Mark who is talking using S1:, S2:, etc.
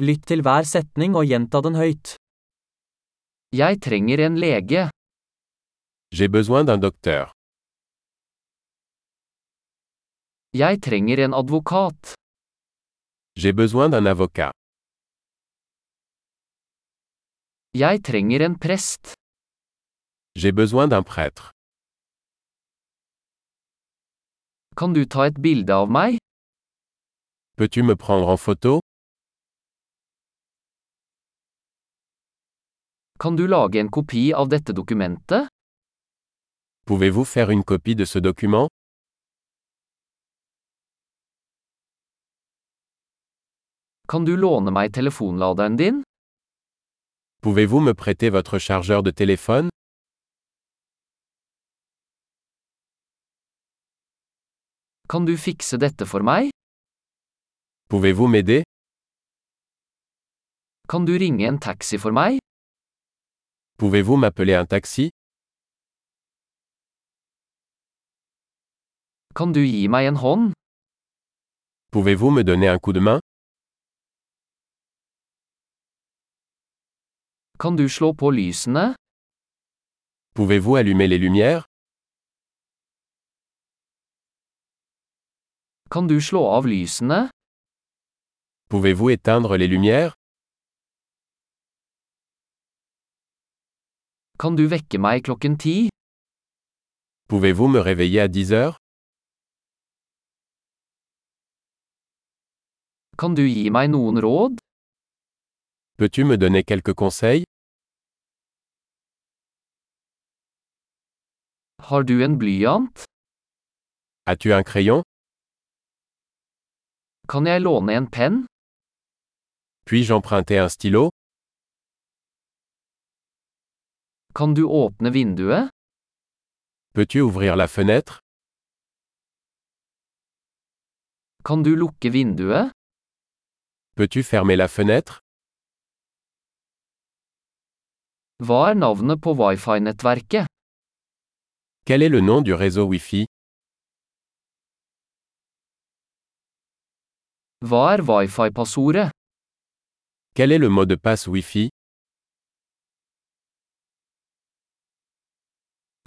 S1: Lytt til hver setning og gjenta den høyt. Jeg trenger en lege.
S2: J'ai besoin d'un docteur.
S1: Jeg trenger en advokat.
S2: J'ai besoin d'un avocat.
S1: Jeg trenger en prest.
S2: J'ai besoin d'un prêtre.
S1: Kan du ta et bilde av meg?
S2: Peux-tu me prendre en photo
S1: Kan du lage en kopi av dette dokumentet?
S2: Pouvez-vous faire une copie de ce document
S1: Kan du låne meg telefonladeren din?
S2: Pouvez-vous me prêter votre chargeur de téléphone
S1: Kan du fikse dette for meg?
S2: Pouvez-vous m'aider
S1: Kan du ringe en taxi for meg?
S2: Pouvez-vous m'appeler un taxi
S1: Kan du gi meg en hånd?
S2: Pouvez-vous me donner un coup de main
S1: Kan du slå på lysene?
S2: Pouvez-vous allumer les lumières
S1: Kan du slå av lysene?
S2: Pouvez-vous éteindre les lumières
S1: Kan du vekke meg klokken ti?
S2: Pouvez-vous me réveiller à 10 heures
S1: Kan du gi meg noen råd?
S2: Peux-tu me donner quelques conseils
S1: Har du en blyant?
S2: As-tu un crayon
S1: Kan jeg låne en penn?
S2: Puis-je emprunter un stylo
S1: Kan du åpne vinduet?
S2: Peux-tu ouvrir la fenêtre
S1: Kan du lukke vinduet?
S2: Peux-tu fermer la fenêtre
S1: Hva er navnet på wifi-nettverket?
S2: Quel est le nom du réseau Wi-Fi
S1: Hva er wifi-passordet?
S2: Quel est le mot de passe Wi-Fi